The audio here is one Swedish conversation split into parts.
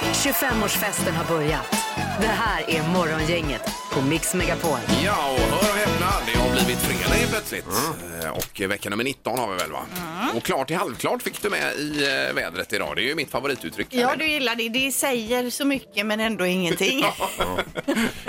25-årsfesten har börjat. Det här är Morgongänget på Mix Megapol. Ja, och hör och häpna, det har blivit fredag helt plötsligt. Eh, Och vecka nummer 19 har vi väl va? Och klart till halvklart fick du med i eh, vädret idag. Det är ju mitt favorituttryck. Ja, du gillar det. Det säger så mycket men ändå ingenting.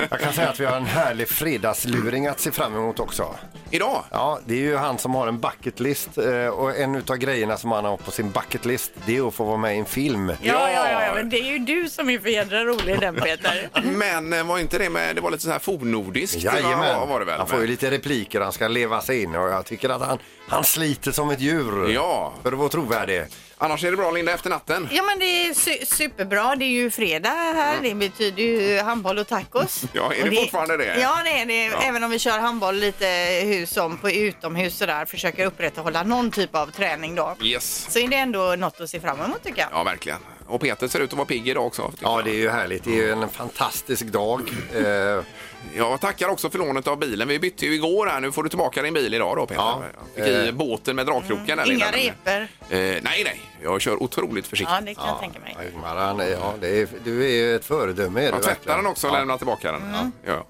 Jag kan säga att vi har en härlig fredagsluring att se fram emot också. Idag? Ja, det är ju han som har en bucketlist eh, och en utav grejerna som han har på sin bucketlist det är att få vara med i en film. Ja, ja, ja, ja, men det är ju du som är för jädra rolig i den Peter. Men eh, var inte det med, det var lite så här fornnordiskt? va, var det väl? han får ju Men- lite repliker han ska leva sig in och jag tycker att han, han sliter som ett djur Ja. för att vara trovärdig. Annars är det bra Linda efter natten. Ja, men det är su- superbra. Det är ju fredag här. Det betyder ju handboll och tacos. Mm. Ja, är det Och fortfarande det? Ja, det är det. Ja. Även om vi kör handboll lite hur som på utomhus och där försöker upprätthålla någon typ av träning då. Yes. Så är det ändå något att se fram emot tycker jag. Ja, verkligen. Och Peter ser ut att vara pigg idag också. Ja, det är ju härligt. Det är ju en fantastisk dag. Eh, Jag tackar också för lånet av bilen. Vi bytte ju igår här. Nu får du tillbaka din bil idag då Peter. Ja. Fick i båten med dragkroken. där, Mm. Inga Linda. repor. Eh, nej, nej. Jag kör otroligt försiktigt. Ja, det kan jag tänka mig. Ingmar, han- ja, det är, du är ju ett föredöme. Är Jag du tvättar den också och Ja. lämnar tillbaka den. Mm. Ja.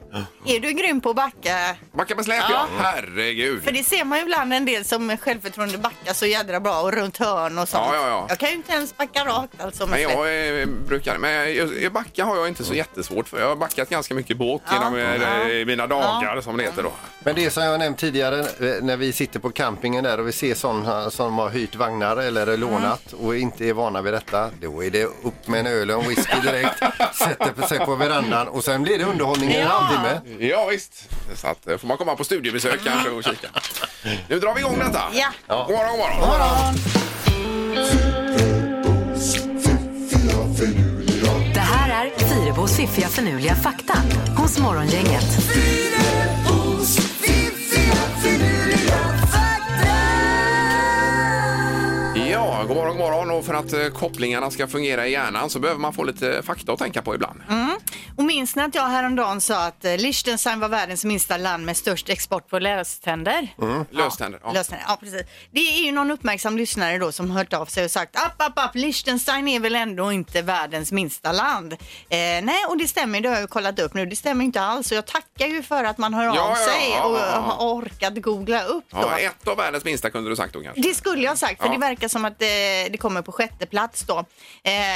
Är du grym på att backa? Backa med släp, ja. Herregud. För det ser man ju ibland en del som med självförtroende backar så jädra bra och runt hörn och sånt. Ja, ja, ja. Jag kan ju inte ens backa rakt alltså. Men Med släp. jag eh, brukar... Men jag- jag backa har jag inte så jättesvårt för. Jag har backat ganska mycket båt Ja. genom eh, mina dagar, som det heter då. Men det är som jag nämnt tidigare, eh, när vi sitter på campingen där och vi ser sådana som har hyrt vagnar eller lånat Mm. och inte är vana vid detta, då är det upp med en öl och en whisky direkt, sätter sig på verandan och sen blir det underhållning i en Ja. Mm. halvtimme. Ja, visst. Så att, eh, får man komma på studiebesök kanske och kika. Nu drar vi igång detta. Ja. God morgon, god morgon. Det här är Fyrebos fiffiga förnuliga fakta hos Morgongänget. Ja, god morgon, god morgon. Och för att eh, kopplingarna ska fungera i hjärnan så behöver man få lite fakta att tänka på ibland. Mm. Och minns ni att jag häromdagen sa att eh, Liechtenstein var världens minsta land med störst export på löständer? Mm. Löständer. Ja. Ja. Löständer, ja precis. Det är ju någon uppmärksam lyssnare då som hört av sig och sagt app, app, app, Liechtenstein är väl ändå inte världens minsta land? Eh, nej, och det stämmer, det har jag ju kollat upp nu, det stämmer inte alls och jag tackar ju för att man hör Ja, av ja, ja, sig ja, och ja, ja. har orkat googla upp då. Ja, ett av världens minsta kunde du sagt då kanske. Det skulle jag ha sagt, för Ja. det verkar som att eh, det kommer på sjätte plats då. Eh,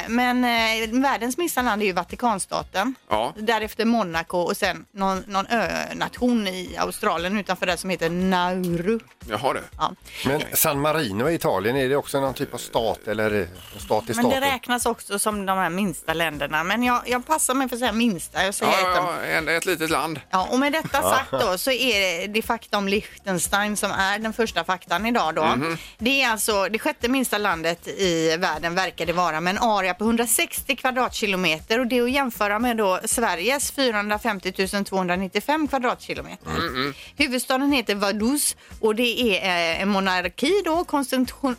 men eh, världens minsta land är ju Vatikanstaten. Ja. Därefter Monaco och sen någon, någon önation i Australien utanför det som heter Nauru. Jaha du. Ja. Men San Marino i Italien, är det också någon typ av stat eller stat Men i det staten? räknas också som de här minsta länderna. Men jag, jag passar mig för att säga minsta. Jag säger Ja, ett ja, om- ja, en- ett litet land. Ja, och med detta sagt då så är det, det fakta om Liechtenstein som är den första faktan idag då. Mhm. Det är alltså det sjätte minsta landet i världen verkar det vara med en area på 160 kvadratkilometer och det är att jämföra med då Sveriges 450 295 kvadratkilometer. Mm, Huvudstaden heter Vaduz och det är eh, en monarki då, konstitution,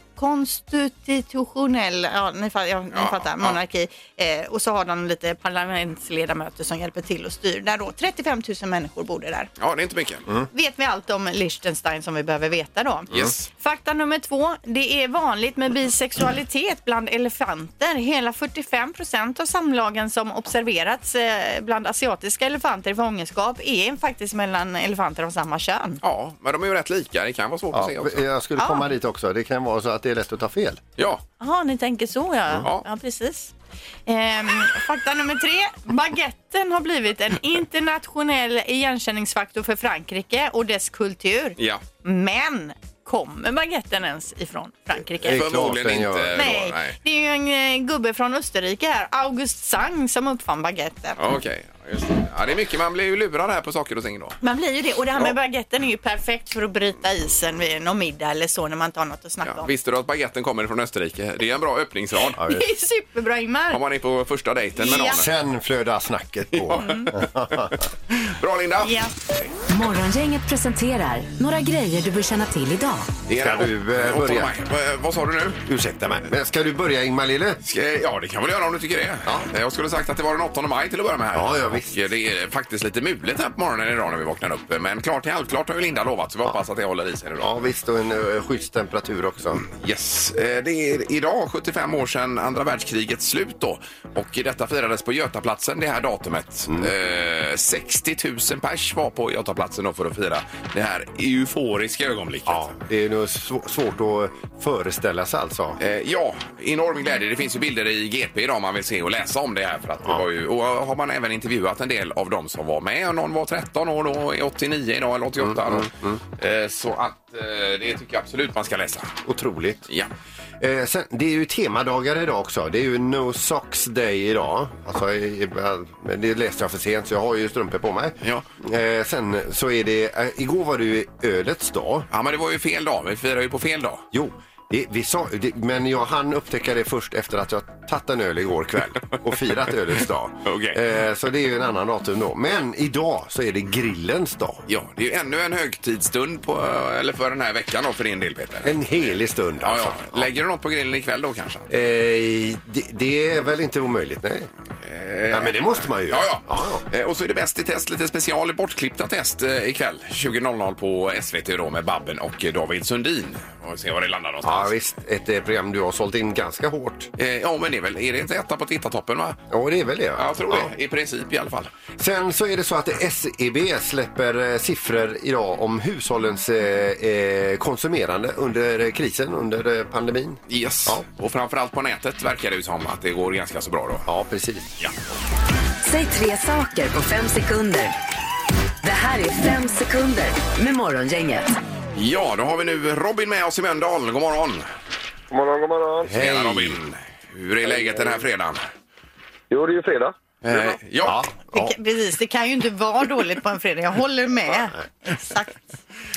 konstitutionell, ja ni, fa- ja, ni Ja, fattar, ja. monarki. Eh, och så har de lite parlamentsledamöter som hjälper till och styr där då. 35 000 människor bor det där. Ja, det är inte mycket. Mm. Vet vi allt om Liechtenstein som vi behöver veta då? Yes. Fakta nummer två. Det är vanligt med bisexualitet bland elefanter. Hela 45 procent av samlagen som observerats eh, bland asiatiska elefanter i fångenskap är faktiskt mellan elefanter av samma kön. Ja, men de är ju rätt lika. Det kan vara svårt att se Ja, också. jag skulle Ja. komma dit också. Det kan vara så att det är lätt att ta fel. Ja, Jaha, ni tänker så ja. Ja. Ja, precis. Ehm, fakta nummer tre. Baguetten har blivit en internationell igenkänningsfaktor för Frankrike och dess kultur. ja. Men kommer baguetten ens ifrån Frankrike? Det är klart förmodligen den inte. gör Då, det. Nej, nej. det är ju en eh, gubbe från Österrike här, August Sang, som uppfann baguetten. Ja, Okej, just det. Ja, det är mycket. Man blir ju lurad här på saker och ting då. Man blir ju det. Och det här med baguetten är ju perfekt för att bryta isen vid någon middag eller så när man inte har något att snacka Ja, om. visste du att baguetten kommer från Österrike? Det är en bra öppningsrad. Det är superbra Ingmar! Om man är på första dejten med Ja. någon. Sen flödar snacket på. Bra Linda! Ja. Morgongänget presenterar några grejer du bör känna till idag. Det är Ska den du, eh, åttonde börja? maj. Eh, Vad sa du nu? Ursäkta mig. Men ska du börja Ingmar? med lille? Ska- Ja, det kan väl göra om du tycker det. Eh, Jag skulle sagt att det var den 8 maj till att börja med. Här. Ja, ja, visst. Och eh, det är faktiskt lite mulet här på morgonen idag när vi vaknar upp. Men klart till halvklart har ju Linda lovat så vi hoppas att det håller i sig nu då. Ja visst, och en eh, skyddstemperatur också. Yes, eh, det är idag 75 år sedan andra världskrigets slut då. Och detta firades på Götaplatsen det här datumet. Eh, 60 000 pers var på Götaplatsen då för att fira det här euforiska ögonblicket. Ja, det är nog sv- svårt att föreställa sig alltså. Eh, ja, enorm glädje. Det finns ju bilder i GP idag om man vill se och läsa om det här. För att det var ju, och eh, har man även intervjuat en del av de som var med. Och Någon var 13 år då, är 89 idag eller 88. då. Eh, så att eh, det tycker jag absolut man ska läsa. Otroligt. Ja. Eh, sen, det är ju temadagar idag också. Det är ju No Socks Day idag. Alltså, i- i- men det läste jag för sent så jag har ju strumpor på mig. Ja. Eh, sen så är det, eh, igår var det ju ölets dag. ja, men det var ju fel dag. Vi firar ju på fel dag. Jo, det, vi sa, det, men jag hann upptäcka det först efter att jag tagit en öl igår kväll och firat ölets dag. Okej. Eh, så det är ju en annan datum då. Men idag så är det grillens dag. Ja, det är ju ännu en högtidsstund på, eller för den här veckan då för din del Peter. En helig stund Ja, alltså. ja. Lägger du något på grillen ikväll då kanske? Eh, det, det är väl inte omöjligt, nej. nej, men det måste man ju göra. Eh, Ja, ja. Eh, Och så är det Bäst i test, lite special bortklippta test eh, ikväll. 20.00 på SVT då med Babben och eh, David Sundin. Och se var det landar Ja, någonstans. visst. Ett eh, program du har sålt in ganska hårt. Eh, ja, men det är väl, är det inte etta på tittartoppen va? Ja, det är väl det. Ja, jag tror Ja. det. I princip i alla fall. Sen så är det så att SEB släpper eh, siffror idag om hushållens eh, eh, konsumerande under eh, krisen, under eh, pandemin. Yes. Ja. Och framförallt på nätet verkar det ju som att det går ganska så bra då. Ja, precis. Ja. Säg tre saker på fem sekunder. Det här är fem sekunder med Morgongänget. ja, då har vi nu Robin med oss i Mölndal. God morgon! God morgon, god morgon. Tjena Robin! Hur är läget den här fredagen? Jo, det är ju fredag. Eh, ja. Det, kan- Precis, det kan ju inte vara dåligt på en fredag. Jag håller med. Exakt.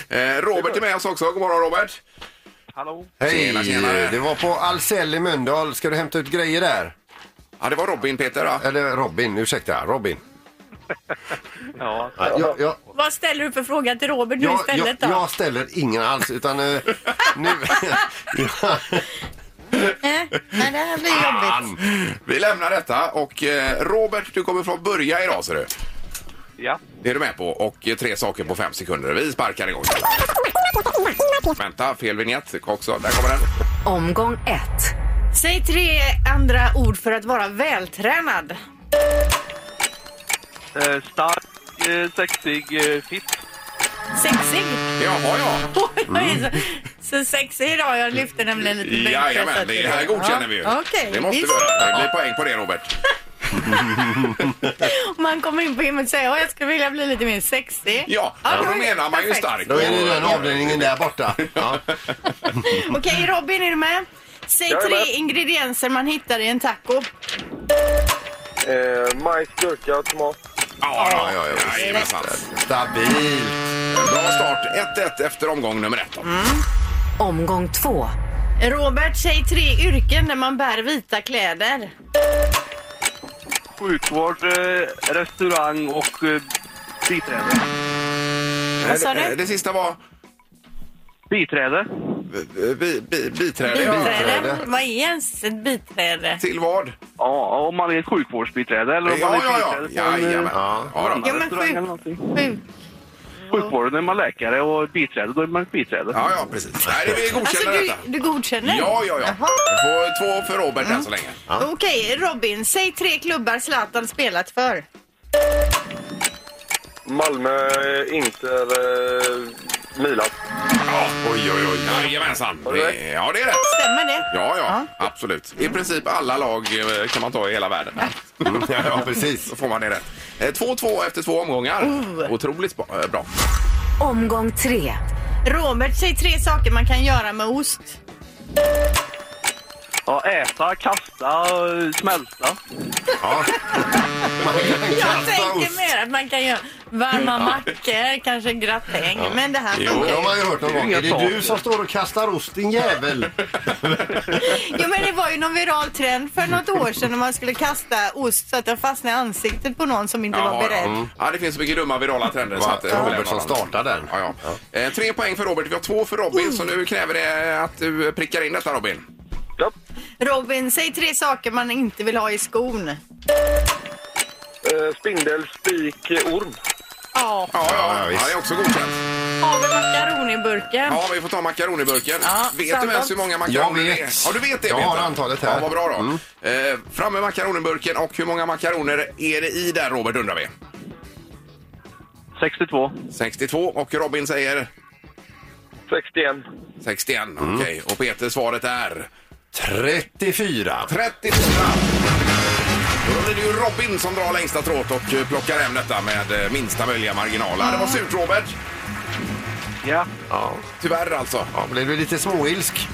Eh, Robert är med oss också. God morgon Robert! Hallå? Hej! Tjena, tjena. Det var på Ahlsell i Mölndal. Ska du hämta ut grejer där? Ja, det var Robin Peter va? Eller Robin, ursäkta. Robin. Ja. Jag, jag, Vad ställer du för fråga till Robert nu jag, jag, istället då? jag ställer ingen alls, utan eh, nu... Nej, nej, det här blir jobbigt. Fan! Vi lämnar detta och eh, Robert, du kommer från börja idag ser du. ja. Det är du med på och eh, tre saker på fem sekunder. Vi sparkar igång. Vänta, fel vignett också. Där kommer den. Omgång ett. Säg tre andra ord för att vara vältränad. Eh, stark, eh, sexig, eh, fitt. Sexig? Jaha, ja. Jag är så, så sexig idag. Jag lyfte nämligen lite bänkpress Jajamän, att- det här godkänner vi ju. Ja, okej, Det måste vi visst. göra. Det blir poäng på det Robert. Om Man kommer in på gymmet och säger att jag skulle vilja bli lite mer sexig. Ja, och då menar man ju starkt. Då är det den avdelningen där borta. Ja. Okej, Robin, är du med? Säg Jag är tre med. ingredienser man hittar i en taco. Eh, majs, gurka, tomat. Ja, ja, ja, ja. Jajamensan. Stabilt. Bra start. 1-1 efter omgång nummer ett. då. Omgång två. Robert, säg tre yrken där man bär vita kläder. Sjukvård, eh, restaurang och eh, biträde. Vad sa Eh, du? Det sista var Biträde? eh, bi- bi- biträde. Biträde? Vad är ens ett biträde? Till vad? Ja, om man är ett sjukvårdsbiträde eller om Ja, man är ja, ja. biträde på en, eh, Jajamän. Ja. Ja, då. Ja, men restaurang sjuk- eller någonting. Sjuk. Sjukvården är man läkare och biträde, då är man ett biträde. Ja, ja, precis. Nej, det- vi Alltså, godkänner du, detta. du godkänner? Ja, ja, ja. Jaha. Får två för Robert än så länge. Okej, Robin, säg tre klubbar Zlatan spelat för. Malmö, eh, Inter, eh, Milan. Oj, oj, oj. Jajamensan. Har du Det- rätt? Ja, det är rätt. Stämmer det? Ja, ja, absolut. I princip alla lag eh, kan man ta i hela världen. Ja, precis. Så får man det rätt. Eh, 2-2 efter två omgångar. Otroligt spa- eh, bra. Omgång tre. Robert, säg tre saker man kan göra med ost. Ja, äta, kasta, eh, smälta. Ja. Man kan Jag kasta tänker ost. mer att man kan göra varma mackor, kanske gratäng. Men det här Jo. Jo, funkar det har ju. man ju hört någon Det är gång. inga Är det saker. du som står och kastar ost, din jävel? Jo men det var ju någon viral trend för något år sedan när man skulle kasta ost så att den fastnade i ansiktet på någon som inte var Ja, beredd. Mm. ja. ja, det finns så mycket dumma virala trender. Så att, eh, Mm. Robert överlämnar som honom. startar den. Ja, ja. Eh, Tre poäng för Robert. Vi har två för Robin, så nu kräver det att du prickar in detta, Robin. Ja. Robin, säg tre saker man inte vill ha i skon. Eh, spindel, spik, eh, orm. Ja, Ja, ja, ja, visst. det är också godkänt. har vi makaroniburken? Ja, vi får ta makaroniburken. Ja, vet du samma. ens hur många makaroner Jag det vet. är? Ja, du vet det Jag Peter. har antalet här. Mm. Ja, vad bra då. Eh, fram med makaroniburken och hur många makaroner är det i där Robert undrar vi? 62. 62 och Robin säger 61. 61. Mm. Okej, och Peter svaret är 34. 34. Då blir det ju Robin som drar längsta tråt och eh, plockar hem detta med eh, minsta möjliga marginal. Ja, Det var surt Robert. Ja. Ja, Tyvärr alltså. ja blev du lite småilsk?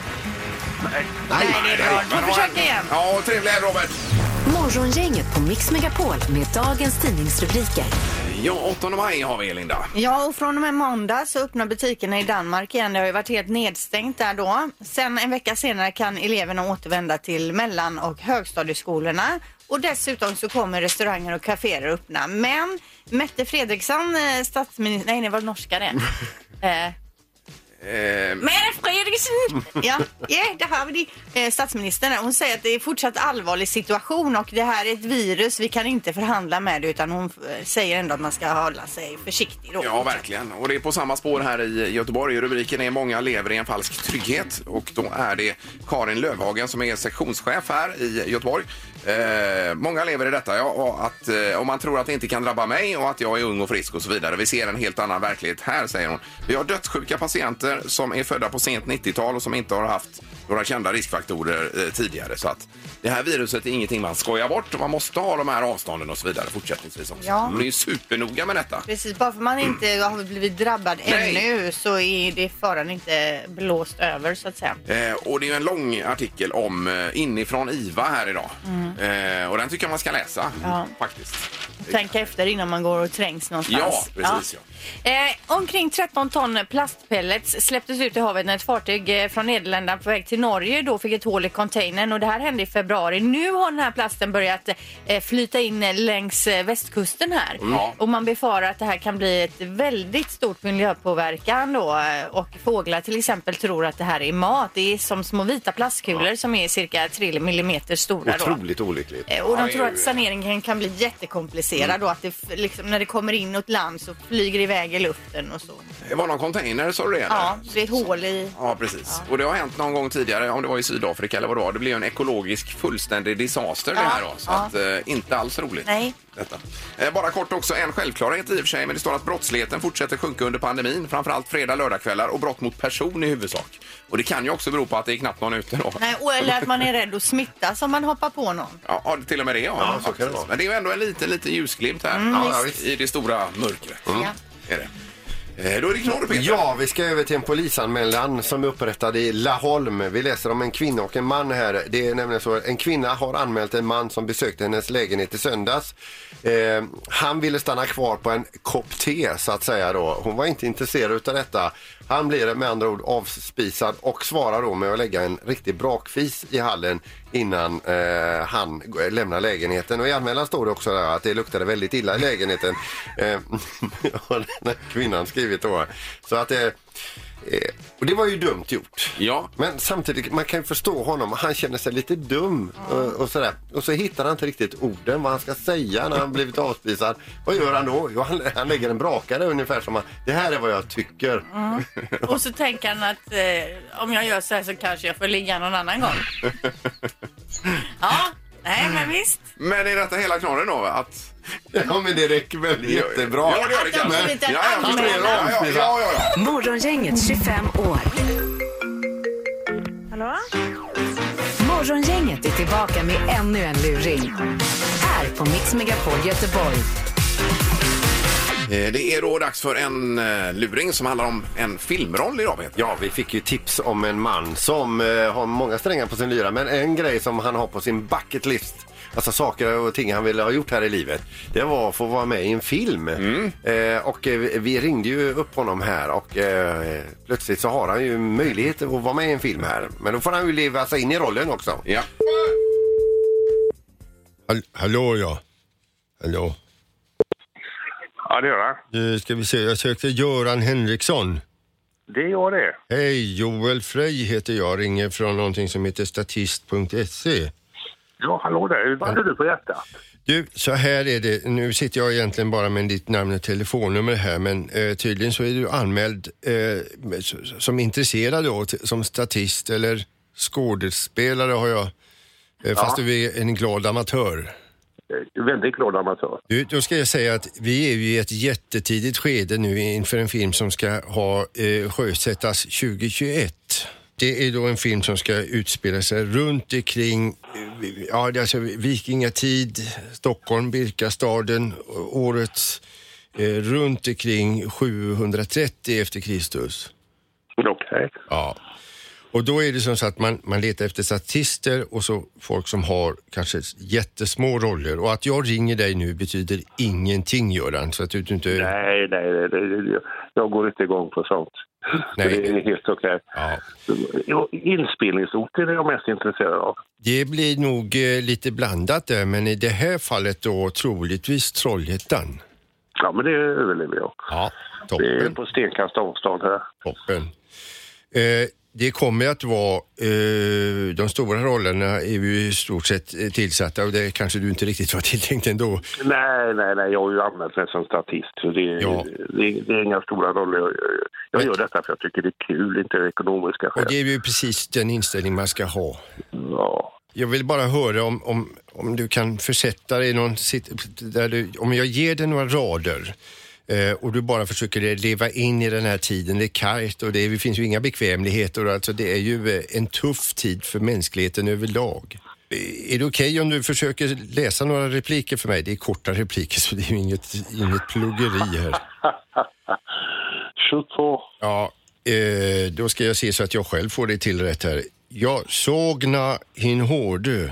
Nej. Nej, det är bra. Du får Men försöka ha- igen. Ja, trevlig helg Robert. Morgongänget på Mix Megapol med dagens tidningsrubriker. Ja, 8 maj har vi Linda. Ja, och från och med måndag så öppnar butikerna i Danmark igen. Det har ju varit helt nedstängt där då. Sen en vecka senare kan eleverna återvända till mellan och högstadieskolorna. Och dessutom så kommer restauranger och kaféer att öppna. Men Mette Fredriksson, eh, statsminister... Nej, det var norska det. Eh, Eh, Mette Fredriksen! Ja, yeah, det här var det. Eh, statsministern hon säger att det är fortsatt allvarlig situation och det här är ett virus. Vi kan inte förhandla med det utan hon eh, säger ändå att man ska hålla sig försiktig. Då. Ja, verkligen. Och det är på samma spår här i Göteborg. Rubriken är Många lever i en falsk trygghet. Och då är det Karin Lövhagen som är sektionschef här i Göteborg. Eh, många lever i detta, ja. Och att, eh, om man tror att det inte kan drabba mig och att jag är ung och frisk och så vidare. Vi ser en helt annan verklighet här, säger hon. Vi har dödssjuka patienter som är födda på sent 90-tal och som inte har haft några kända riskfaktorer eh, tidigare. Så att det här viruset är ingenting man skojar bort. Man måste ha de här avstånden och så vidare fortsättningsvis också. Ja. Hon är ju supernoga med detta. Precis, bara för man inte har blivit drabbad Nej. ännu så är det faran inte blåst över så att säga. Eh, och det är ju en lång artikel om eh, inifrån IVA här idag. Eh, och den tycker jag man ska läsa Mm. Ja. faktiskt. Tänka efter innan man går och trängs någonstans. Ja, precis, Eh, omkring 13 ton plastpellets släpptes ut i havet när ett fartyg eh, från Nederländerna på väg till Norge då fick ett hål i containern och det här hände i februari. Nu har den här plasten börjat eh, flyta in eh, längs eh, västkusten här Mm. Ja. och man befarar att det här kan bli ett väldigt stort miljöpåverkan då eh, och fåglar till exempel tror att det här är mat. Det är som små vita plastkulor som är cirka 3 millimeter stora. Då. Otroligt olyckligt. Eh, Och Ja, de det tror är ju- Mm. att saneringen kan bli jättekomplicerad då, att det f- liksom, när det kommer in åt land så flyger det iväg i luften och så. Det Eh, var någon container, sa du det? eller? Ja, så det är ett hål i... Ja, precis. Och det har hänt någon gång tidigare, om det var i Sydafrika eller vad det var. Det blev ju en ekologisk fullständig disaster det Ja, här då. Så ja. att, eh, inte alls roligt. Nej. Detta. Eh, bara kort också, en självklarhet i och för sig, men det står att brottsligheten fortsätter sjunka under pandemin. Framförallt fredag, lördagkvällar och brott mot person i huvudsak. Och det kan ju också bero på att det är knappt någon ute då. Nej, och, eller att man är rädd att smittas om man hoppar på någon. Ja, ja, till och med det. Ja, Ja, så kan Precis. det vara. Men det är ju ändå en liten, liten ljusglimt här Ja, ja, visst. i det stora mörkret. Mm. Ja. Är det. Eh, Då är det knorr, Peter. Ja, vi ska över till en polisanmälan som är upprättad i Laholm. Vi läser om en kvinna och en man här. Det är nämligen så att en kvinna har anmält en man som besökte hennes lägenhet i söndags. Eh, han ville stanna kvar på en kopp te så att säga då. Hon var inte intresserad utav detta. Han blir med andra ord avspisad och svarar då med att lägga en riktig brakfis i hallen innan eh, han g- lämnar lägenheten. Och i anmälan står det också där att det luktade väldigt illa i lägenheten. Eh, har den här kvinnan skrivit då. Så att det... Eh, och det var ju dumt gjort. Ja. Men samtidigt, man kan ju förstå honom. Han känner sig lite dum eh, och, och sådär. Och så hittar han inte riktigt orden vad han ska säga när han blivit avspisad. Vad gör han då? Jo, han, han lägger en brakare ungefär som han, det här är vad jag tycker. Och så tänker han att eh, om jag gör så här så kanske jag får ligga någon annan gång. Ja, nej men visst. Men är detta hela knorren då? Att... Ja, men det räcker väl jättebra. Ja, det gör Att det de har kanske. blivit en Ja, jag förstår. anmälan. Ja, ja, ja, ja, ja. Morgongänget 25 år. Hallå? Morgongänget är tillbaka med ännu en luring. Här på Mix Megapol Göteborg. Eh, Det är då dags för en eh, luring som handlar om en filmroll idag, Peter. Ja, vi fick ju tips om en man som eh, har många strängar på sin lyra men en grej som han har på sin bucket list, alltså saker och ting han ville ha gjort här i livet, det var att få vara med i en film. Eh, och eh, vi- vi ringde ju upp honom här och eh, plötsligt så har han ju möjlighet att vara med i en film här. Men då får han ju leva sig in i rollen också. Ja. Hall- hallå ja. Hallå. Ja, det gör jag. Du, ska vi se, jag sökte Göran Henriksson. Det är jag det. Hej, Joel Frey heter jag. Ringer från någonting som heter statist.se. Ja, hallå där. Vad hade du på hjärtat? Du, så här är det. Nu sitter jag egentligen bara med ditt namn och telefonnummer här, men eh, tydligen så är du anmäld eh, s- som intresserad då, t- som statist eller skådespelare har jag. Eh, fast du är en glad amatör. Eh, Väldigt glad amatör. Du, då ska jag säga att vi är ju i ett jättetidigt skede nu inför en film som ska ha eh, sjösättas 2021. Det är då en film som ska utspela sig runt omkring eh, ja, det är alltså vikingatid, Stockholm, Birkastaden, året eh, runt omkring 730 efter Kristus. Okej. Ja. Och då är det som så att man, man letar efter statister och så folk som har kanske jättesmå roller. Och att jag ringer dig nu betyder ingenting Göran. Så att du inte... Nej, nej, nej, nej, nej. Jag går inte igång på sånt. Nej. Det är helt okej. Ja. Jo, Inspelningsorter är jag mest intresserad av. Det blir nog eh, lite blandat där, men i det här fallet då troligtvis Trollhättan. Ja, men det överlever jag. Ja, Det är toppen. på stenkast avstånd här. toppen. Eh, det kommer att vara, eh, de stora rollerna är ju i stort sett eh, tillsatta och det kanske du inte riktigt var tilltänkt ändå. Nej, nej, nej, jag har ju använt mig som statist. Så det, Ja. det, det är inga stora roller. Jag, jag- jag gör detta för jag tycker det är kul, inte av ekonomiska skäl. Och det är ju precis den inställning man ska ha. Ja. Jag vill bara höra om, om, om du kan försätta dig i någon sit- där du, om jag ger dig några rader eh, och du bara försöker leva in i den här tiden. Det är kargt och det, är, det finns ju inga bekvämligheter. Alltså det är ju eh, en tuff tid för mänskligheten överlag. Eh, Är det okej om du försöker läsa några repliker för mig? Det är korta repliker så det är ju inget, inget pluggeri här. Skjut på. Ja, eh, då ska jag se så att jag själv får det till rätt här. Jag sågna hin hårdu.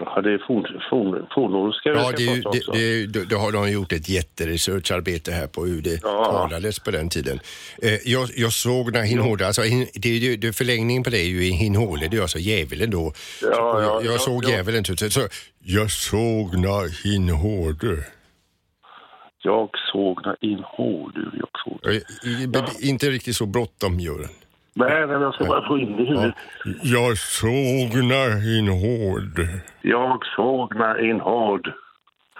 Ja, det är forn- forn- fornnordiska vi Ja, det, ska är ju- prata om, det, så. det, är ju- då- då har de gjort ett jätteresearcharbete här på hur det Ja. talades på den tiden. Eh, jag, jag såg när Hinhåle, alltså hin, det är ju, det, förlängningen på det är ju i Hinhåle, det är alltså djävulen då. Så- Ja, och jag, ja, jag ja, såg ja. djävulen, typ, så, så jag såg när Hinhåle. Jag såg när in hårdur jag såg. Eh, i- be- Inte riktigt så bråttom, Göran. Nej, men jag ska bara få in det i huvudet. Jag såg när Hinhåle. Jag såg när in hård.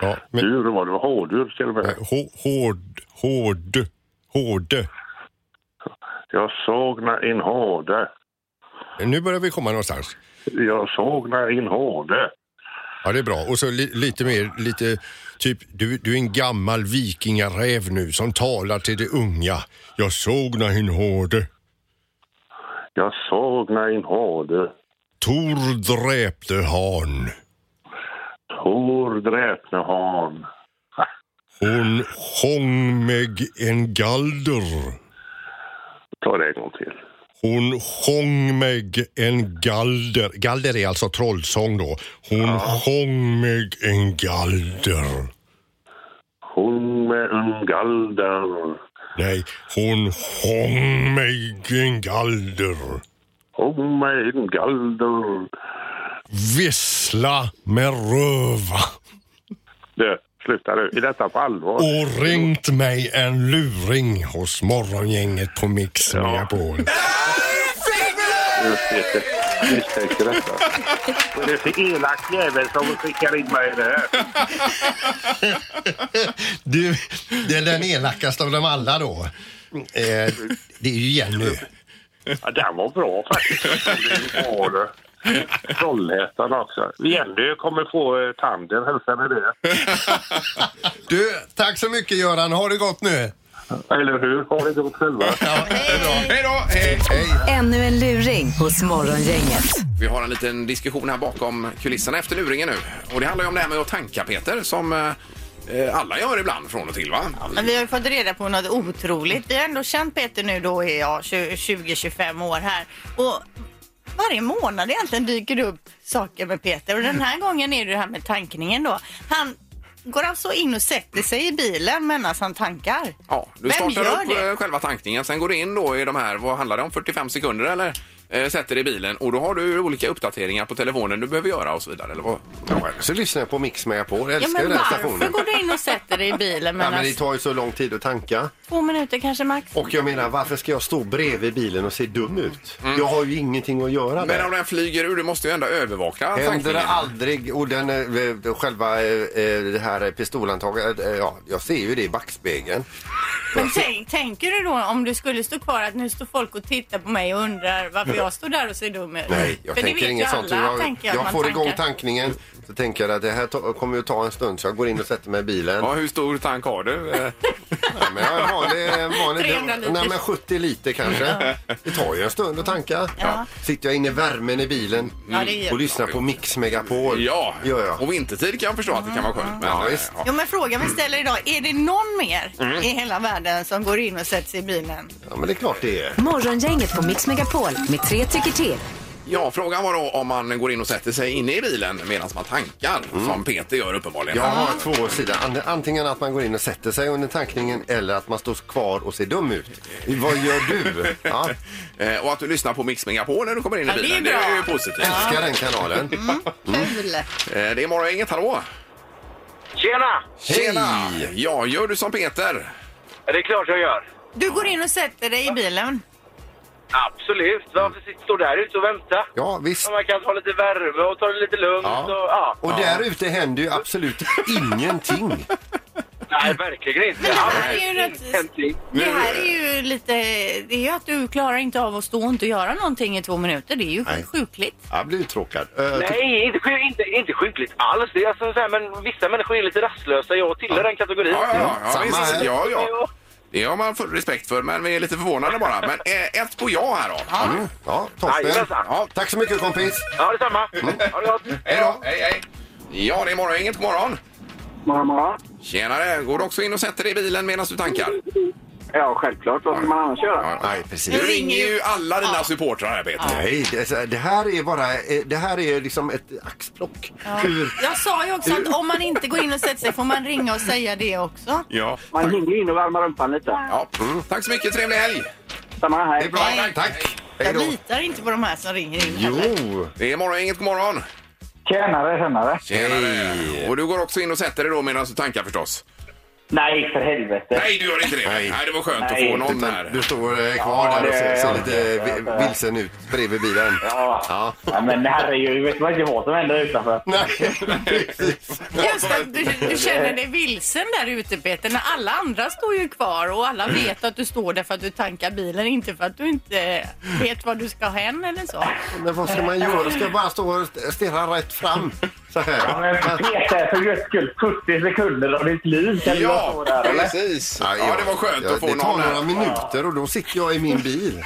Ja, men eh, Dur var det, hårdur till och med. hå- hård, hård, hårde. Jag såg när in hårde. Nu börjar vi komma någonstans. Jag såg när in hårde. Ja, det är bra. Och så li- lite mer, lite typ, du, du är en gammal vikingaräv nu som talar till de unga. Jag såg när hin hörde. Jag såg när in hårde. Tor dräpte han. Tor dräpne han. Hon sjöng meg en galder. Ta det en gång till. Hon sjöng meg en galder. Galder är alltså trollsång då. Hon sjöng meg en galder. Hon med en galder. Nej, hon sjöng mig en galder. Hon med en galder. Vissla med röva. Du, sluta nu. Är detta på allvar? och ringt mig en luring hos morgongänget på Mix Megapol. misstänker detta. Vad är det för elak jävel som skickar in mig i det här? Du, det är den elakaste av dem alla då. Eh, det är ju Jenny. Ja, den var bra faktiskt. Ja, du. Trollhättan också. Jenny kommer få eh, tanden, hälsa med det. Du, tack så mycket Göran. Ha det gott nu. Eller hur? Har ni gjort själva? Hej då! Hej. Ännu en luring hos Morgongänget. Vi har en liten diskussion här bakom kulisserna efter luringen nu. Och det handlar ju om det här med att tanka Peter som eh, eh, alla gör ibland från och till va? Men vi har ju fått reda på något otroligt. Vi har ändå känt Peter nu då i ja, 20-25 år här. Och varje månad egentligen dyker det upp saker med Peter. Och den här gången är det det här med tankningen då. Han går alltså in och sätter sig i bilen medan han tankar. Ja, du Vem startar gör upp det? eh, själva tankningen, sen går du in då i de här, vad handlar det om, 45 sekunder eller? eh, sätter i bilen och då har du olika uppdateringar på telefonen du behöver göra och så vidare. Eller vad? Så lyssnar jag på Mix Megapol. Jag Ja, älskar ju men den här varför stationen. går du in och sätter dig i bilen Ja, medan men det tar ju så lång tid att tanka. två minuter kanske max? Och jag menar, varför ska jag stå bredvid bilen och se dum ut? Jag har ju ingenting att göra Men om där. den flyger ur, du måste ju ändå övervaka Händer det tankningen. aldrig, och den, eh, själva eh, eh, det här pistolantaget, eh, ja, jag ser ju det i Mm. backspegeln. Men tänk, tänker du då om du skulle stå kvar att nu står folk och tittar på mig och undrar varför jag står där och ser dum ut? Nej, jag För det tänker vet inget ju sånt. alla, Jag, tänker jag att man får igång tankar. tankningen, så tänker jag att det här ta, kommer ju ta en stund så jag går in och sätter mig i bilen. Ja, hur stor tank har du? Eh, Ja, men jag har vanlig, vanlig, 300 liter. Nej, men 70 liter kanske. Det tar ju en stund att tanka. Ja. Sitter jag inne i värmen i bilen Ja, det är- och lyssnar på Mix Megapol. Ja, Gör jag. och vintertid kan jag förstå att det kan vara skönt. Men, Ja, eh, visst. Jo men frågan vi ställer idag, är det någon mer Mm. i hela världen som går in och sätter sig i bilen? Ja, men det är klart det är. Morgongänget på Mix Megapol med tre tycker till. Ja, frågan var då om man går in och sätter sig inne i bilen medan man tankar, Mm. som Peter gör uppenbarligen. Jag har två sidor. An- Antingen att man går in och sätter sig under tankningen eller att man står kvar och ser dum ut. Vad gör du? Ja, Eh, Och att du lyssnar på Mix Megapol när du kommer in i Ja, det är bilen, bra. ju positivt. älskar den kanalen. Mm. Kul! Eh, Det är Morgongänget, hallå! Tjena! Tjena! Ja, gör du som Peter? Är det klart jag gör? Du går in och sätter dig i bilen. Absolut. Varför sitter- stå där ute och vänta? Ja, visst. Man kan ta lite värme och ta det lite lugnt. Ja. Och, ja. Och där ute händer ju absolut ingenting. Nej, verkligen inte. Men det här Absolut är ju rätt- ingenting. Det här är ju lite, det är ju att du klarar inte av att stå och inte göra någonting i två minuter. Det är ju Nej. sjukligt. Jag blir uttråkad. Eh, Nej, inte, sjuk- inte, inte sjukligt alls. Det är alltså så här, men vissa människor är lite rastlösa. Jag tillhör den kategorin. Ja, ja, ja, ja, Samma visst. här. ja, ja. Det har man full respekt för, men vi är lite förvånade bara. Men eh, ett på ja här då. Mm. Ja, toppen. Jajamensan. Ja, tack så mycket kompis. Ja, detsamma. Mm. Ha det gott. Hej då! Hej, hej! Ja, det är Morgongänget, god morgon! Mamma? Tjenare! Går du också in och sätter dig i bilen medan du tankar? Ja, självklart. Vad ska man annars göra? Nej, precis. Du ringer ju alla dina supportrar här, Peter. Nej, det, det här är bara eh, det här är liksom ett axplock. Hur, Jag sa ju också att om man inte går in och sätter sig får man ringa och säga det också. Ja. Man hinner ju in och värma rumpan lite. ja. Tack så mycket, trevlig helg! Samma det är här. bra. Nej. Tack. Hej Jag då. litar inte på de här som ringer in heller. Jo. Det är Morgongänget, god morgon! Tjenare, tjenare. Tjenare! Och du går också in och sätter dig då medan du tankar förstås? Nej, för helvete. Nej, du gör inte det! Nej, Nej. det var skönt att Nej. få något Men du här. står eh, kvar Ja, där och det ser, är ser jag. lite vi- vilsen ut bredvid bilen. Ja. ja, men herregud. Vet man inte vad som händer utanför? Nej, precis. Just att du, du känner dig vilsen där ute Peter, när alla andra står ju kvar och alla vet att du står där för att du tankar bilen, inte för att du inte vet vad du ska ha hem eller så. Men vad ska man göra? Ska jag bara stå och stirra rätt fram? Så Ja, här. men Peter, för guds skull. 70 sekunder av ditt liv kan du bara stå där, eller? precis! Ja, det var skönt Ja, att få Det tar någon några här. minuter och då sitter jag i min bil.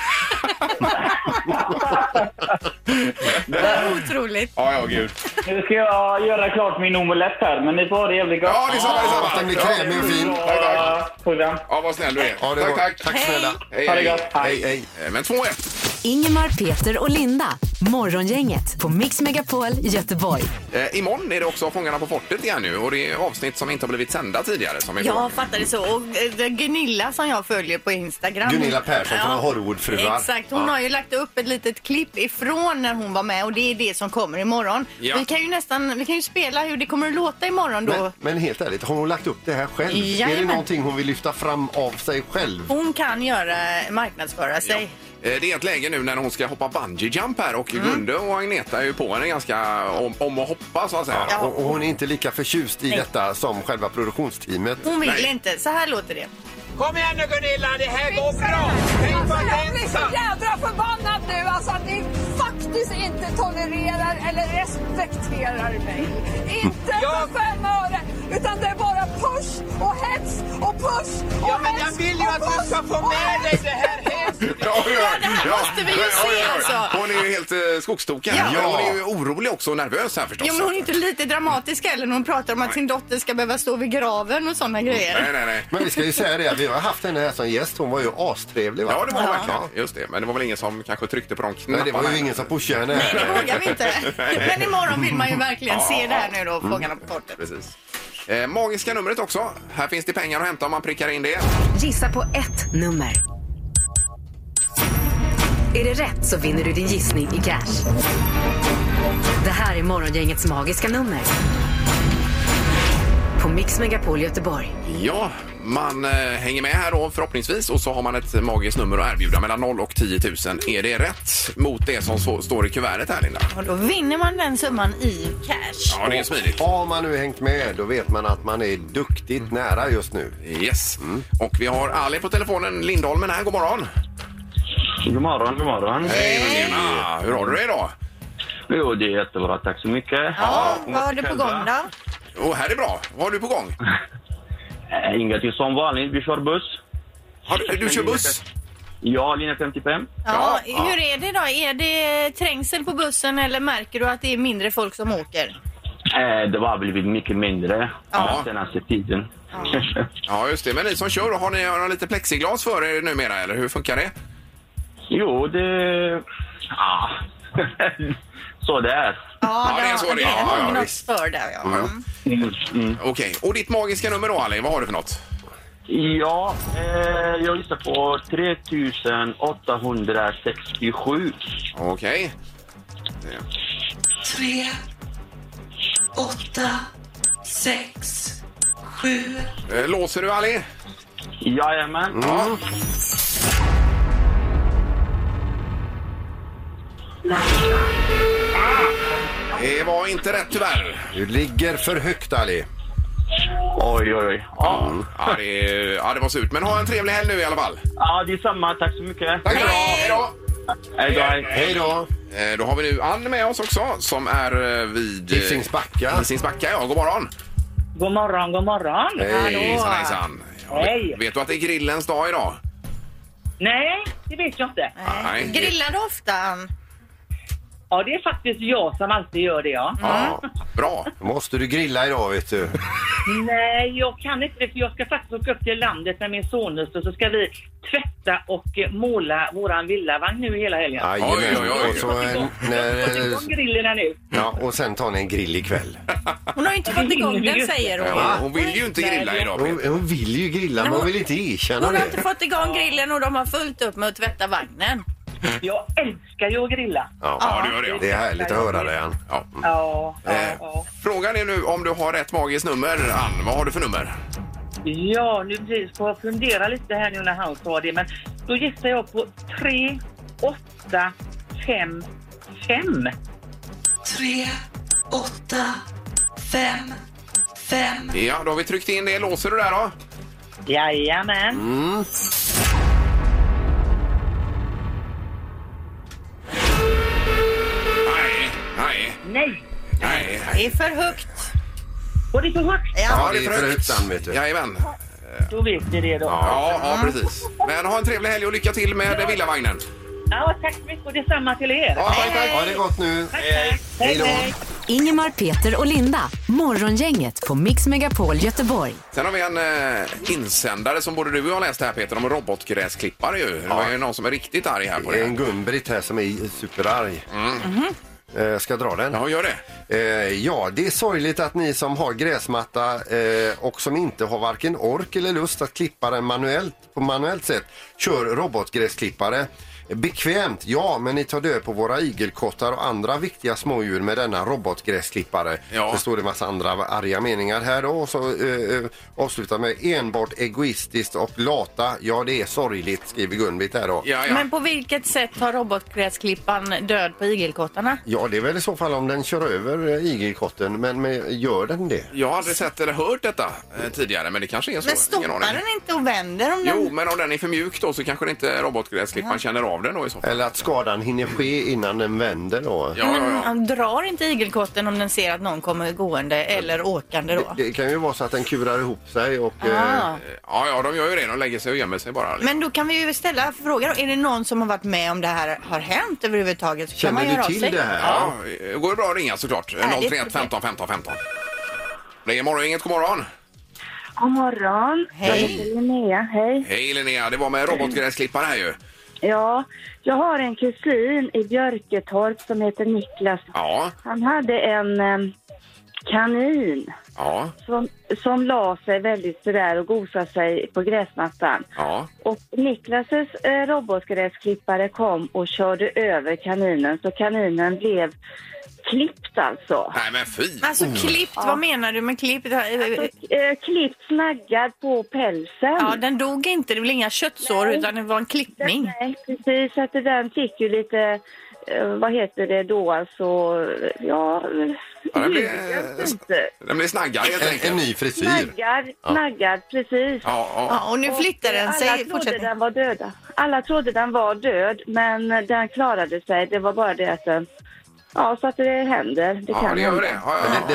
Otroligt. Ja, ja, gud. Nu ska jag göra klart min omelett här, men ni får ha det jävligt gott. Ja, det sa Ja, jag! att den blir krämig och fin. Tack, tack. Program. Ja, vad snäll du är. Ja, det tack, var- tack. tack snälla. Hej, Ha det hej. gott. Hej, hej. Eh, Men 2-1. Ingemar, Peter och Linda. Morgongänget på Mix Megapol Göteborg. Eh, imorgon är det också Fångarna på fortet igen nu och det är avsnitt som inte har blivit sända tidigare som är Jag på. fattar det så. Och eh, det är Gunilla som jag följer på Instagram. Gunilla Persson från Hollywoodfruar. Exakt. Hon Ja. har ju lagt upp ett litet klipp ifrån när hon var med och det är det som kommer imorgon. Ja. Vi kan ju nästan, vi kan ju spela hur det kommer att låta imorgon då. Men, men helt ärligt, har hon lagt upp det här själv? Är det Jajamän. någonting hon vill lyfta fram av sig själv? Hon kan göra, marknadsföra sig. Eh, Det är ett läge nu när hon ska hoppa bungee jump här och Mm. Gunde och Agneta är ju på henne ganska om, om att hoppa så att säga. Ja. Och, och hon är inte lika förtjust i detta som själva produktionsteamet. Hon vill inte. Så här låter det. Kom igen nu Gunilla, det här går bra! Tänk på Jag blir så jädra förbannad nu alltså att ni faktiskt inte tolererar eller respekterar mig. Inte för fem öre, utan det är bara push och hets och push och ja, men jag vill ju att du ska få med dig det här hetset! Ja, ja, ja. det här måste vi ju se, alltså. Hon är ju helt eh, skogstokig. här. Ja. Hon är ju orolig också och nervös här förstås. Jo, men hon är inte lite dramatisk heller när hon pratar om att sin dotter ska behöva stå vid graven och sådana Nej, grejer. nej, nej. Men vi ska ju säga det, vi har haft henne här som gäst. Hon var ju astrevlig. Va? Ja, det var hon Ja. verkligen. Mm. Just det. Men det var väl ingen som kanske tryckte på de knapparna. Nej, det var ju ingen som pushade henne. Det vågar vi inte. Men imorgon vill man ju verkligen se det här nu då, Fångarna på fortet. Precis. Eh, magiska numret också. Här finns det pengar att hämta om man prickar in det. Gissa på ett nummer. Är det rätt så vinner du din gissning i cash. Det här är Morgongängets magiska nummer. På Mix Megapol Göteborg. Ja, man eh, hänger med här då förhoppningsvis och så har man ett magiskt nummer att erbjuda mellan 0 och 10 000. Är det rätt mot det som så, står i kuvertet här Linda? Och då vinner man den summan i cash. Ja, det är smidigt. Har man nu hängt med då vet man att man är duktigt nära just nu. Yes. Mm. Och vi har Ali på telefonen, Lindholmen här, god morgon. God morgon, god morgon. Hej! Tjena! Hur har du det idag? Jo, det är jättebra. Tack så mycket. Ja, vad har du på gång då? Oh, här är bra. Vad har du på gång? Äh, Ingenting som vanligt. Vi kör buss. Har du, du kör buss? Ja, linje 55. Ja, hur är det då? Är det trängsel på bussen eller märker du att det är mindre folk som åker? Äh, Det var blivit mycket mindre Ja. den senaste tiden. Ja, just det. Men ni som kör, har ni, har ni lite plexiglas för er numera eller hur funkar det? jo, det... Ah. så det är. Ja, det är så det är. Ja, ja, något visst. för där, ja. Ja, ja. Mm. Okej, och ditt magiska nummer då Ali, vad har du för något? Ja, eh, jag gissar på 3867. Okej. Tre, åtta, sex, sju. Eh, Låser du Ali? Jajamän. Ja. Ah! Det var inte rätt tyvärr. Du ligger för högt Ali. Oj, oj, oj. Ja, Ja, det, ja, det var surt. Men ha en trevlig helg nu i alla fall. ja det är samma. Tack så mycket. Tack ska du ha. Hej då! Hej då. hej. Hej då! Eh, Då har vi nu Ann med oss också som är eh, vid... eh, Hisingsbacka. Hisingsbacka, ja. God morgon! God morgon, god morgon. Hejsan, hejsan. Ja, Hej. Vet du att det är grillens dag idag? Nej, det vet jag inte. Nej. Grillar du ofta, Ann? Ja, det är faktiskt jag som alltid gör det, ja. Ja, bra. Måste du grilla idag vet du. Nej, jag kan inte det, för jag ska faktiskt åka upp till landet med min sonhustru så ska vi tvätta och eh, måla våran villavagn nu hela helgen. Jajamän. Oj, oj, oj. Och, så en, Fått när, igång grillen här nu. ja, och sen tar ni en grill ikväll. Hon har ju inte fått igång den, säger hon. Ja, Hon vill ju inte grilla idag. Peter. Hon, hon vill ju grilla men hon vill inte erkänna Hon har inte det. fått igång grillen och de har fullt upp med att tvätta vagnen. Jag älskar ju att grilla. Ja, du gör det. Det ja. är härligt att höra det Ann. Ja. Ja, ja, Eh, ja. Frågan är nu om du har rätt magiskt nummer, Ann. Vad har du för nummer? Ja, nu precis. Får jag fundera lite här nu när han sa det. Men då gissar jag på 3, 8, 5, 5. 3, 8, 5, 5. Ja, då har vi tryckt in det. Låser du där då? Jajamän. Mm. Nej, nej, Nej, nej. Det är för högt. var det för högt? Ja, det är för högt Ann vet du. Jajamän. Då vet ni det då. Ja, ja, precis. Men ha en trevlig helg och lycka till med villavagnen. Ja, tack så mycket och detsamma till er. Ja, tack, tack. Ha det gott nu. Tack, tack. Hej då. Ingemar, Peter och Linda. Morgongänget på Mix Megapol Göteborg. Sen har vi en eh, insändare som både du och jag läste här Peter om robotgräsklippare ju. Det var ju någon som är riktigt arg här på Det är det. en Gun-Britt här som är superarg. Eh, Ska jag dra den? Ja, gör det. Eh, ja, det är sorgligt att ni som har gräsmatta eh, och som inte har varken ork eller lust att klippa den manuellt, på manuellt sätt kör robotgräsklippare. Bekvämt, ja, men ni tar död på våra igelkottar och andra viktiga smådjur med denna robotgräsklippare. Ja. Så står det en massa andra arga meningar här då och så eh, eh, avslutar med enbart egoistiskt och lata. Ja, det är sorgligt, skriver Gun-Britt här då. Ja, ja. Men på vilket sätt tar robotgräsklippan död på igelkottarna? Ja, det är väl i så fall om den kör över eh, igelkotten, men, men gör den det? Jag har aldrig sett eller hört detta eh, tidigare, men det kanske är så. Men Ingen stoppar aning. den inte och vänder om Jo, den... men om den är för mjuk då så kanske det inte robotgräsklipparen känner av den då i så fall. Eller att skadan hinner ske innan den vänder då. Ja, ja, Men ja. han Mm, drar inte igelkotten om den ser att någon kommer gående eller åkande då? Det, det kan ju vara så att den kurar ihop sig och... Ah. Eh, Ja, ja, de gör ju det. De lägger sig och gömmer sig bara. Men då kan vi ju ställa frågan, är det någon som har varit med om det här har hänt överhuvudtaget? Så kan man känner göra du av till sig. det här? Ja, det går ju bra att ringa såklart. är 031 15 15 15. Det är morgon, inget god morgon. God morgon. Jag Hej. heter Linnea. Hej. Hej Linnea, det var med robotgräsklippare här ju. Ja, jag har en kusin i Björketorp som heter Niklas. Ja, Han hade en, eh, kanin Ja. som, som la sig väldigt sådär och gosade sig på gräsmattan. Ja. Och Niklases eh, robotgräsklippare kom och körde över kaninen så kaninen blev klippt alltså. Nej men fy! Alltså klippt, vad menar du med klippt? Eh, klippt, snaggad på pälsen. Ja, den dog inte. Det blev inga köttsår utan det var en klippning. Nej, precis. Att det där fick ju lite, eh, vad heter det då, alltså, ja, Ja, den blir, den blir snaggad helt enkelt. En ny snaggad, snaggad, precis. Ja, ja. Ja, och nu flyttar den eh, sig. Alla trodde Fortsätt. den var död. Alla trodde den var död, men den klarade sig. Det var bara det att den, ja, så att det händer. Det kan hända. Men Det,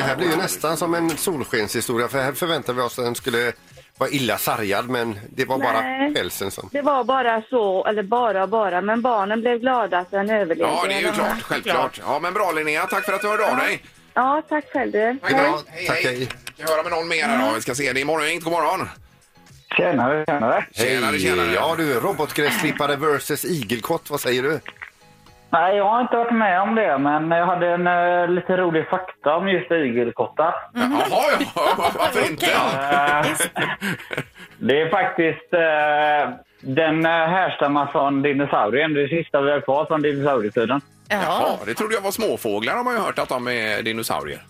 det här blir ju nästan som en solskenshistoria för här förväntade vi oss att den skulle vara illa sargad men det var bara Nej. pälsen som... Det var bara så, eller bara och bara, men barnen blev glada att den överlevde. Ja, det är ju klart. Självklart. Ja, men bra Linnea. Tack för att du hörde av dig. Ja, tack själv du. Tack, hej. Tack, hej. Ska jag höra med någon mer här då? Vi ska se. Det är morgongänget. God morgon. Tjenare, tjenare. Tjenare, tjenare. Ja du, robotgräsklippare versus igelkott, vad säger du? Nej, jag har inte varit med om det, men jag hade en eh, lite rolig fakta om just igelkottar. Jaha, ja. Varför inte? det är faktiskt... eh, den eh, härstammar från dinosaurien. Det sista vi har kvar från dinosaurietiden. Ja, det trodde jag var småfåglar har man ju hört att de är dinosaurier.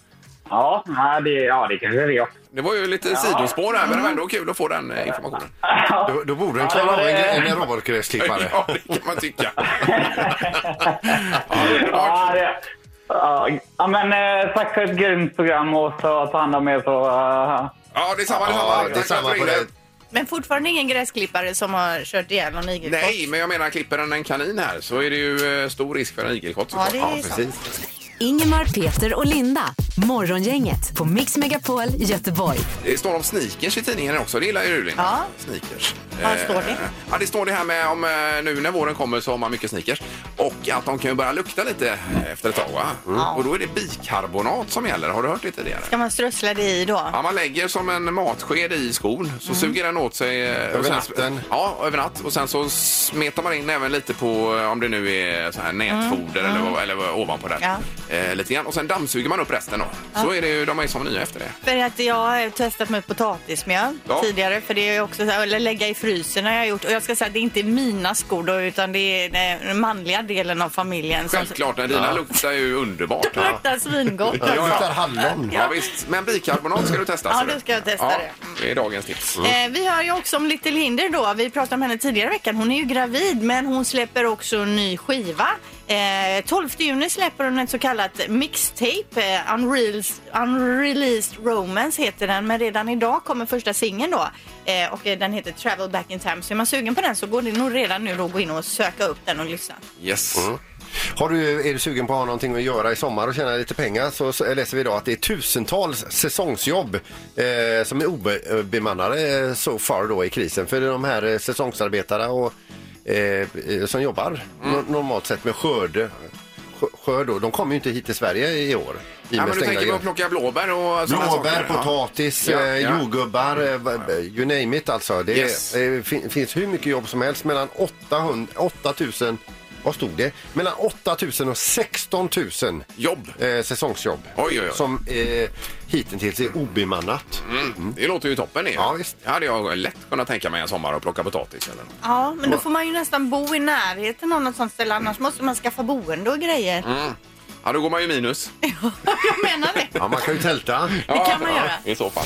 Ja, nej, det, ja, det kanske det är. Det var ju lite sidospår här, men det var ändå kul att få den eh, informationen. Då, då borde den klara av en, en robotgräsklippare. Ja, det kan man tycka. Ja, det, ja, ja, men eh, tack för ett grymt program och så ta hand om er så... eh, Ja, det är samma, det är samma. Tack för att du ringde. Men fortfarande ingen gräsklippare som har kört ihjäl någon igelkott? Nej, men jag menar klipper den en kanin här så är det ju eh, stor risk för en igelkott Ja, det är sant. precis. Ingemar, Peter och Linda. Morgongänget på Mix Megapol Göteborg. Det står om sneakers i tidningen också, det gillar ju du Linda. Ja. Sneakers. Vad står det? Eh, Ja, det står det här med om eh, nu när våren kommer så har man mycket sneakers och att de kan ju börja lukta lite eh, efter ett tag va? Ja. Och då är det bikarbonat som gäller, har du hört det tidigare? Ska man strössla det i då? Ja, man lägger som en matsked i skon så suger den åt sig. Över natten? Ja, över natt. Och sen så smetar man in även lite på eh, om det nu är så här nätfoder Mm, Eller, vad- eller vad- ovanpå där. Eh, lite grann. Och sen dammsuger man upp resten då. Så är det ju, de är ju som nya efter det. För att jag har testat med potatismjöl Ja. tidigare. För det är ju också så här, eller lägga i frysen har jag gjort. Och jag ska säga att det är inte mina skor då, utan det är den manliga delen av familjen. som- Självklart, när dina Ja. luktar ju underbart. Det luktar svingott. Ja, ja. alltså. Ja, visst. Men bikarbonat ska du testa. Ja, ser du. det ska jag testa ja, det. Det är dagens tips. Eh, vi hör ju också om Little Hinder då. Vi pratade om henne tidigare i veckan. Hon är ju gravid men hon släpper också en ny skiva. Eh, 12 juni släpper hon ett så kallat mixtape. Eh, Unreals, Unreleased Romance heter den. Men redan idag kommer första singeln då. Eh, och eh, den heter Travel Back In Time. Så är man sugen på den så går det nog redan nu då att gå in och söka upp den och lyssna. Yes. Har du, är du sugen på att ha någonting att göra i sommar och tjäna lite pengar så, så läser vi idag att det är tusentals säsongsjobb eh, som är obemannade eh, so far då i krisen. För det är de här eh, säsongsarbetare och, eh, eh, som jobbar Mm. no- normalt sett med skörd. skö- Skörd då, de kommer ju inte hit till Sverige i år. i och Ja, med men du stängda tänker på att gränser. plocka blåbär och sådana Blåbär, saker. Ja. potatis, Ja, eh, ja. jordgubbar, eh, va- va- you name it alltså. Det är- Yes. eh, fin- finns hur mycket jobb som helst, mellan 800, 8000 vad stod det? Mellan 8 000 och 16 000 jobb. Eh, säsongsjobb Oj, oj, oj. som eh, hittills är obemannat. Mm. Det låter ju toppen. Det. Ja, visst. hade jag lätt kunnat tänka mig en sommar och plocka potatis. Eller något. Ja, men då får man ju nästan bo i närheten av något sånt ställe. Annars måste man skaffa boende och grejer. Mm. Ja, då går man ju minus. Jag menar det. Ja, man kan ju tälta. det kan man göra. I så fall.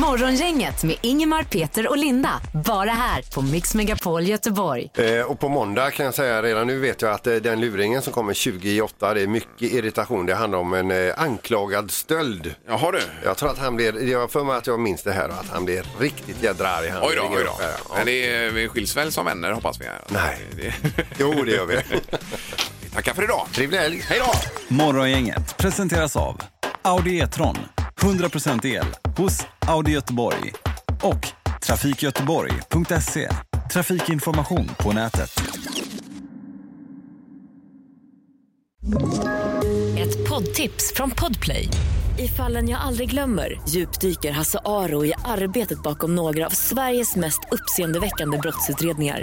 Morgongänget med Ingemar, Peter och Linda. Bara här på Mix Megapol Göteborg. Eh, och på måndag kan jag säga redan nu vet jag att eh, den luringen som kommer 28, det är mycket irritation. Det handlar om en eh, anklagad stöld. Jaha du. Jag tror att han blir, jag har för mig att jag minns det här och att han blir riktigt jädra arg. Han Oj då, ringer oj upp då. här. Men det är, vi skiljs väl som vänner hoppas vi. Nej. Jo, det gör vi. vi tackar för idag. Trevlig helg. Hej då! Morgongänget presenteras av Audi E-tron. 100% el hos Audi Göteborg. Och trafikgöteborg.se. Trafikinformation på nätet. Ett poddtips från Podplay. I fallen jag aldrig glömmer djupdyker Hasse Aro i arbetet bakom några av Sveriges mest uppseendeväckande brottsutredningar.